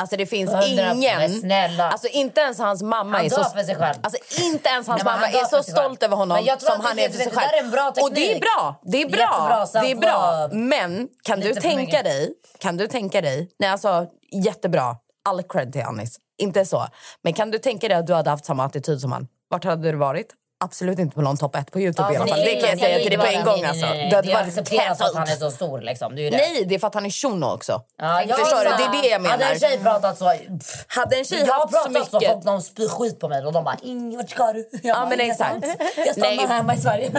C: Alltså det finns
G: Hundra- men
C: ingen.
G: snälla.
C: Alltså inte ens hans mamma
G: Han
C: är
G: dör
C: så...
G: för sig själv.
C: Alltså inte ens hans
G: Nej, men
C: mamma
G: han dör
C: är
G: för
C: så
G: sig själv.
C: stolt över honom
G: Men jag tror
C: som
G: att
C: han
G: det-
C: är för sig
G: det
C: själv.
G: där är en bra
C: Och det är
G: teknik.
C: bra. Det är
G: Jättebra,
C: bra.
G: sen
C: det är
G: får-
C: bra. Men kan du
G: Lite för
C: tänka
G: mycket.
C: dig, kan du tänka dig, nej alltså jättebra, all cred till Anis, inte så. Men kan du tänka dig att du hade haft samma attityd som han? Vart hade du varit? Absolut inte på någon topp 1 på Youtube i alla fall. Det kan jag säga till dig på en gång alltså.
G: Nej,
C: Du
G: nej, nej.
C: hade
G: Det
C: varit
G: accepteras att han är
C: cancelled.
G: så stor liksom. Det är ju det.
C: Nej, det är för att han är shuno också.
G: Ja, jag
C: Förstår du?
G: sa-
C: Det är det jag menar.
G: Hade en tjej pratat så... Pff,
C: Hade en tjej
G: jag har
C: haft så
G: pratat så,
C: mycket-
G: folk de spyr skit på mig och de bara “Ingrid, vart ska du?” Jag
C: Ja,
G: bara,
C: men
G: "Ingenstans.
C: exakt.
G: Jag stannar
C: Nej.
G: hemma i Sverige.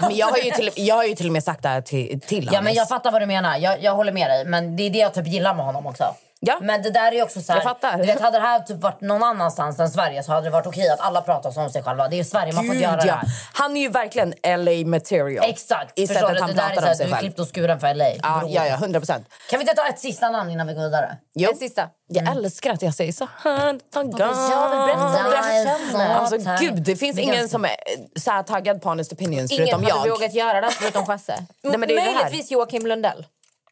C: Men jag har, ju till, jag har ju till och med sagt det här till, till
G: Ja,
C: Anis.
G: men jag fattar vad du menar. Jag, jag håller med dig. Men det är det jag typ gillar med honom också.
C: Ja.
G: Men det där är ju också så här,
C: Jag fattar.
G: Du vet, hade det här typ varit någon annanstans än Sverige så hade det varit okej att alla pratar om sig själva. Det är ju Sverige man får
C: Gud,
G: göra det
C: ja.
G: här.
C: Han är ju verkligen LA material.
G: Exakt.
C: I
G: Förstår
C: sättet
G: du?
C: han
G: det där är så
C: pratar om
G: här,
C: sig
G: Du är
C: själv.
G: klippt och skuren för LA.
C: Ja,
G: bror.
C: ja, ja, 100 procent.
G: Kan vi inte ta ett sista namn innan vi går vidare? Mm.
C: Jo.
D: En sista. Mm.
C: Jag älskar att jag säger så här. Taggad.
D: jag vill berätta om det jag känner.
C: Alltså,
D: Tack.
C: gud, det finns
D: Det är
C: ingen
D: ganska-
C: som är eh, så här taggad på Honest Opinions
D: Ingen
C: förutom jag.
D: hade vågat göra det förutom Chasse.
C: Nej, men det är ju det här.
D: Möjligtvis Joakim Lundell.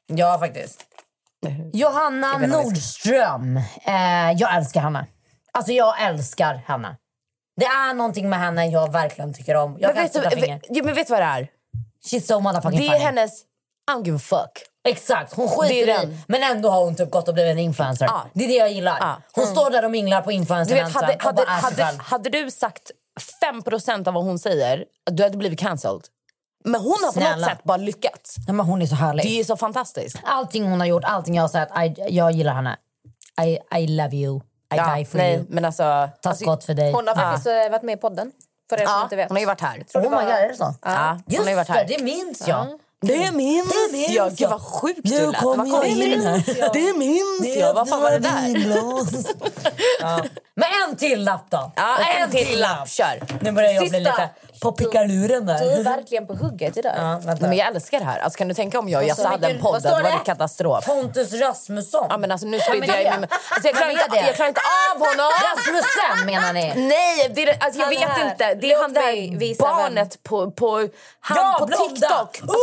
G: Ja, faktiskt. Johanna Nordström. Eh, jag älskar henne. Alltså, jag älskar henne. Det är någonting med henne jag verkligen tycker om. Jag
C: Men
G: kan
C: vet, du,
G: sätta finger.
C: ja, men vet du vad det är?
G: She's so motherfucking
C: Det är
G: funny.
C: hennes I don't give a fuck.
G: Exakt, hon
C: Det är
G: skiter i
C: den.
G: Men ändå har hon typ gått och blivit en influencer.
C: Ja.
G: Det är det jag gillar.
C: Ja. Mm.
G: Hon står där och minglar på
C: Du vet,
G: influencerdansen
C: hade,
G: och
C: hade,
G: bara är sig
C: hade,
G: själv.
C: hade du sagt 5 av vad hon säger, du hade blivit cancelled. Men hon har på något
G: Snälla.
C: sätt bara lyckats.
G: Nej, men hon är så härlig.
C: Det är så fantastiskt.
G: Allting hon har gjort, allting jag har sett. I, jag gillar henne. I, I love you. I
C: Ja,
G: die for
C: nej,
G: you.
C: Men alltså,
G: Tack gott för dig.
D: Hon har faktiskt eh, varit med i podden. För er som
C: ja,
D: inte vet.
C: hon har ju varit här.
G: Oh my god, är det så?
C: Ja, hon
G: Just
C: har ju varit här.
G: det, det minns
C: Det
G: jag.
C: minns,
G: Mm. Det minns
C: jag!
G: jag.
C: Gud vad sjukt
G: Nu
C: du lät.
G: kom
C: Vad
G: jag
C: konstigt.
G: in här.
C: Det minns
G: Det
C: jag! Vad fan var det
G: öppnar
C: där?
G: vinglas. ja. Men en till lapp då.
C: Ja, en till lapp. Kör!
G: Nu börjar jag bli
D: Sista.
G: lite på pickaluren
D: Du är
G: där.
D: verkligen på hugget idag.
G: Ja, vänta.
C: Nej, men jag älskar det här. Alltså, kan du tänka om jag och
G: Vad
C: Jesse
G: står-
C: hade en
G: vad
C: podd?
G: står
C: Det var
G: det?
C: en katastrof.
G: Pontus Rasmusson.
C: Ja, men alltså, nu spydde
G: men
C: jag i
G: det-
C: min mun. Alltså, jag,
G: Ja,
C: klarar
G: men
C: inte,
G: det är det.
C: jag klarar inte av honom!
G: Rasmussen menar ni?
C: Nej, det är, alltså, jag
D: Han
C: vet
D: här.
C: inte. Det är
D: Låt
C: han där
D: mig visa
C: barnet på, på, han
G: Ja,
C: på
G: blonda. Uh!
C: TikTok. Alltså,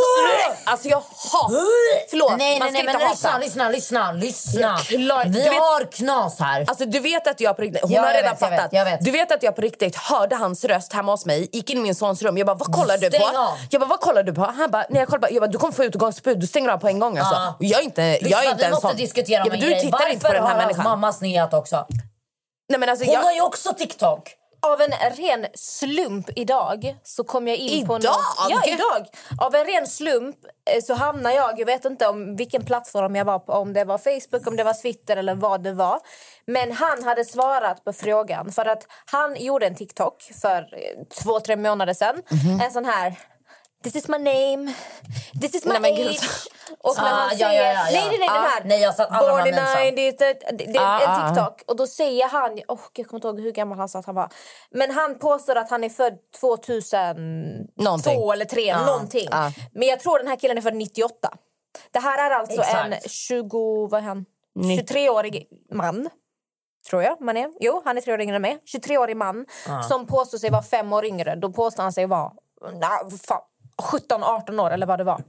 C: alltså jag hatar... Förlåt,
G: nej,
C: man ska
G: nej, nej,
C: inte
G: men
C: hata.
G: lyssna, lyssna, lyssna, lyssna.
C: Jag klarar-
G: Vi
C: du vet-
G: har knas här.
C: Alltså du vet att jag på riktigt, hon
G: Ja,
C: har
G: jag
C: redan
G: vet, jag
C: fattat.
G: vet, jag vet.
C: Du vet att jag på riktigt hörde hans röst hemma hos mig, gick in i min sons rum. Jag bara, vad kollar du på?
G: Stäng av.
C: Jag bara, vad kollar du på? Han bara, nej jag kollar bara. Jag bara, du kommer få utgångsförbud, du stänger av på en gång alltså.
G: Ja.
C: Och Jag är inte, jag är
G: Lyssna,
C: inte
G: Liksom, vi
C: en
G: måste
C: sån.
G: diskutera
C: ja,
G: om
C: men
G: en
C: Du
G: grej.
C: tittar inte på den
G: har
C: här
G: hans
C: människan.
G: mamma sneat också?
C: Nej men alltså
G: Hon
C: jag,
G: har ju också TikTok.
C: Av en ren slump idag så kom jag in på...
D: Idag?
C: något- Ja, idag! Av en ren slump eh, så hamnade jag... Jag vet inte om vilken plattform jag var på, om det var Facebook, om det var Twitter eller vad det var. Men han hade svarat på frågan för att han gjorde en TikTok för eh, två, tre månader sedan.
D: Mhm.
C: En sån här... This is my name, this is my
D: Nej, men gud.
C: age. Och när
D: Ah,
C: han
D: ja,
C: säger...
D: ja, ja, ja.
C: Nej, nej, nej, den
D: Ah,
C: här.
D: nej, jag satt alla
C: Born
D: namnen
C: in
D: så.
C: 90, det, det, det är
D: Ah, ah,
C: en
D: ah.
C: TikTok. Och då säger han, oh, jag kommer inte ihåg hur gammal han sa att han var. Men han påstår att han är född 2000,
D: Någonting.
C: två eller tre,
D: Ja,
C: någonting.
D: ja.
C: Men jag tror den här killen är född 98. Det här är alltså en
D: Exakt.
C: 20, vad är han?
D: Ni-
C: 23-årig man. Tror jag man är. Jo, han är tre år yngre än mig. 23-årig man
D: Ja.
C: som påstår sig vara fem år yngre. Då påstår han sig vara na, fan, 17, 18 år eller vad det var.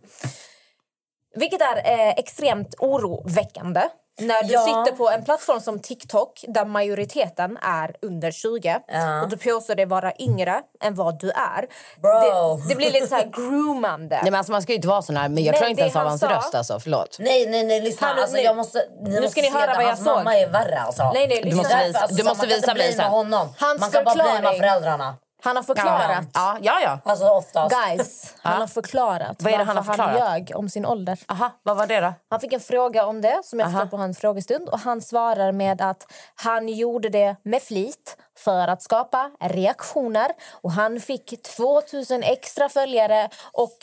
C: Vilket är eh, extremt oroväckande när du
D: Ja.
C: sitter på en plattform som TikTok där majoriteten är under 20
D: Ja.
C: och du påstår dig vara yngre än vad du är.
D: Bro.
C: Det, det blir lite så här groomande.
D: Nej, men alltså, man ska ju inte vara sån här, men jag
C: Men
D: klarar inte
C: det
D: ens av
C: han
D: hans
C: sa-
D: röst. Alltså, förlåt.
G: Nej, nej, nej, lyssna.
C: Hallå,
G: alltså,
C: nu-
G: jag måste, ni
C: nu ska
G: måste
C: ni höra
G: se
C: vad
G: att
C: jag
G: hans
C: såg.
G: mamma är värre alltså.
C: Nej, nej,
D: Du måste
C: lyssna.
D: visa- du måste
G: så alltså, man kan
D: visa
G: inte bli
D: Lisa.
G: med honom.
C: Hans
G: man kan bara bli
C: förklaring.
G: med föräldrarna.
C: Han har förklarat.
D: Ja, ja. ja.
G: Alltså oftast.
C: Guys, han
D: Ja.
C: har förklarat
D: Vad är det han har
C: varför
D: förklarat?
C: ljög om sin ålder.
D: Aha, vad var det då?
C: Han fick en fråga om det som jag förstår på hans frågestund och han svarar med att han gjorde det med flit för att skapa reaktioner och han fick 2000 extra följare och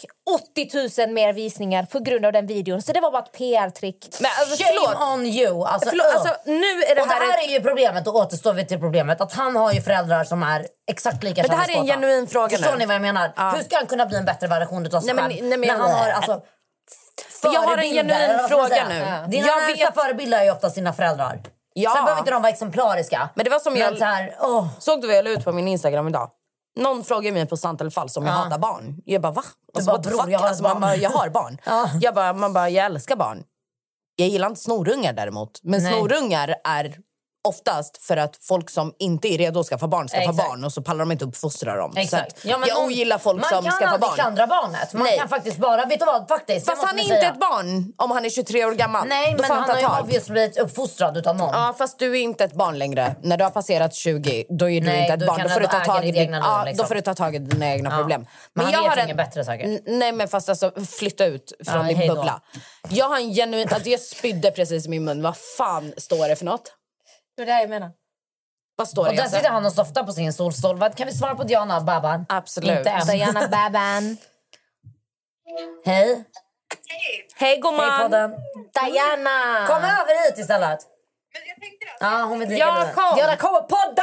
C: 80 000 mer visningar på grund av den videon. Så det var bara ett PR-trick.
D: Men alltså,
G: Shame
D: förlåt.
G: on you! Alltså,
D: Förlåt,
G: usch.
D: alltså, nu är det
G: och det
D: här
G: här är ju problemet, och återstår vi till problemet. Att han har ju föräldrar som är exakt lika
D: Men det här är en
G: könskåta.
D: genuin fråga nu.
G: Förstår ni vad jag menar?
D: Ja.
G: Hur ska han kunna bli en bättre version av sig
D: Nej, men-
G: själv?
D: nej, men
G: när
D: jag-
G: han har alltså,
D: Men jag har en
G: förebilder,
D: genuin
G: eller vad ska man
D: fråga
G: säga?
D: nu.
G: Dina
D: Jag
G: närmsta
D: vet-
G: förebilder är ju ofta sina föräldrar.
D: Ja.
G: Sen behöver inte de vara exemplariska.
D: Men det var som
G: Men
D: jag...
G: så här,
D: Såg du vad jag la ut på min Instagram idag? Någon frågade mig på sant eller falskt om jag
G: Ja.
D: hatar barn. Jag bara, va? Alltså,
G: bara,
D: what the
G: "Bror,
D: fuck?"
G: jag har
D: alltså,
G: barn.
D: man bara, jag har barn. jag bara, man bara, jag älskar barn. Jag gillar inte snorungar däremot. Men
G: Nej.
D: snorungar är oftast för att folk som inte är redo att skaffa barn skaffar
G: Exakt.
D: barn och så pallar de inte uppfostra dem.
G: Exakt.
D: Så att, jag
G: någon-
D: ogillar folk
G: man
D: som
G: kan
D: skaffar
G: aldrig
D: barn.
G: klandra barnet. Man
D: Nej.
G: kan faktiskt bara... Vet du vad? Faktiskt,
D: Fast
G: vad
D: han är
G: man
D: inte
G: säga.
D: ett barn om han är 23 år gammal.
G: Nej,
D: Då
G: men
D: får
G: han
D: ta
G: har ju
D: tag.
G: obviously blivit uppfostrad utav någon.
D: Ja, fast du är inte ett barn längre. När du har passerat 20, då är du
G: Nej,
D: inte ett
G: då
D: barn.
G: kan
D: Då får,
G: du
D: du ta
G: äga
D: tag i
G: ditt
D: din,
G: egna liv,
D: ja,
G: liksom.
D: då får du ta tag i dina egna
G: Ja.
D: problem.
G: Men han vet inget bättre säkert.
D: N- Nej, men fast alltså, flytta ut från
G: Ja,
D: din
G: hej då.
D: bubbla. Jag har en genuin... Alltså, jag spydde precis i min mun. Vad fan står det för något?
C: Det är det jag menar.
D: Vad står
G: Och
D: det?
G: där
D: Jesse?
G: sitter han och softar på sin solstolpe. Kan vi svara på Diana Baban?
D: Absolut.
G: Inte än.
C: Diana Baban.
G: Hej.
D: Hej gumman!
G: Hej podden.
C: Diana!
G: Kom över hit istället. Ja, hon vill dricka
D: Ja,
G: lite.
D: kom.
G: Diana kom och podda!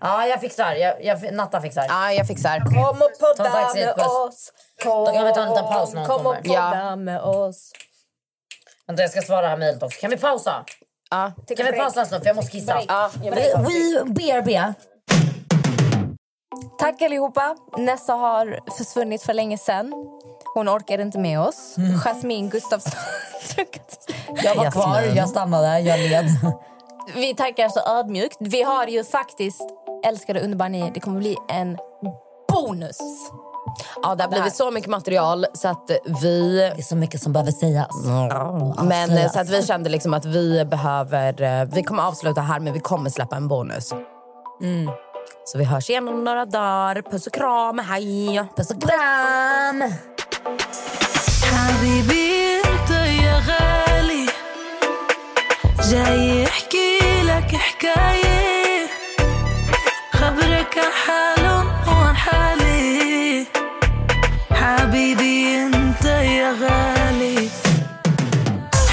G: Ja, jag fixar. Jag, jag, Natta fixar.
D: Ja, jag fixar.
C: Kom och
G: Ta en
C: podda
G: taxi hit,
C: med
G: puss.
C: oss. Kom,
G: Då kan vi ta en liten paus när hon
C: Kom och
G: kommer.
C: podda med oss.
G: Vänta, jag ska svara det här mejlet också. Kan vi pausa?
D: Ja.
G: Kan vi pausa en stund? För jag måste kissa.
D: Ja, jag
G: We,
D: vill-
G: we BRB.
C: Tack allihopa. Nessa har försvunnit för länge sedan. Hon orkade inte med oss.
D: Mm.
C: Jasmine Gustafsson.
G: Jag var kvar, jag stannade, jag led.
C: Vi tackar så ödmjukt. Vi har ju faktiskt, älskade underbara ni, det kommer bli en bonus.
D: Ja, det har blivit så mycket material så att vi... Det
G: är så mycket som behöver sägas.
D: Men eh,
G: Avslöjas.
D: så att vi kände liksom att vi behöver... eh, Vi kommer avsluta här, men vi kommer släppa en bonus.
C: Mm.
D: Så vi hörs igen om några dagar. Puss och kram, hej!
G: Puss och kram!
B: حبيبي انت يا غالي جاي احكي لك حكاية خبرك عن حالهم وعن حالي حبيبي انت يا غالي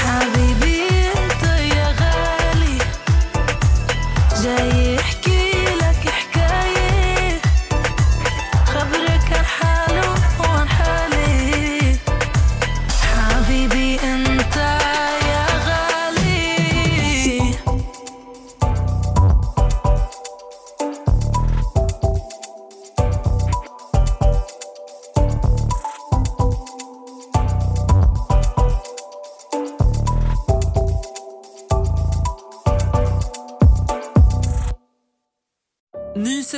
B: حبيبي انت يا غالي جاي احكي لك حكاية خبرك عن حالهم وعن حالي حبيبي انت يا غالي
J: Ny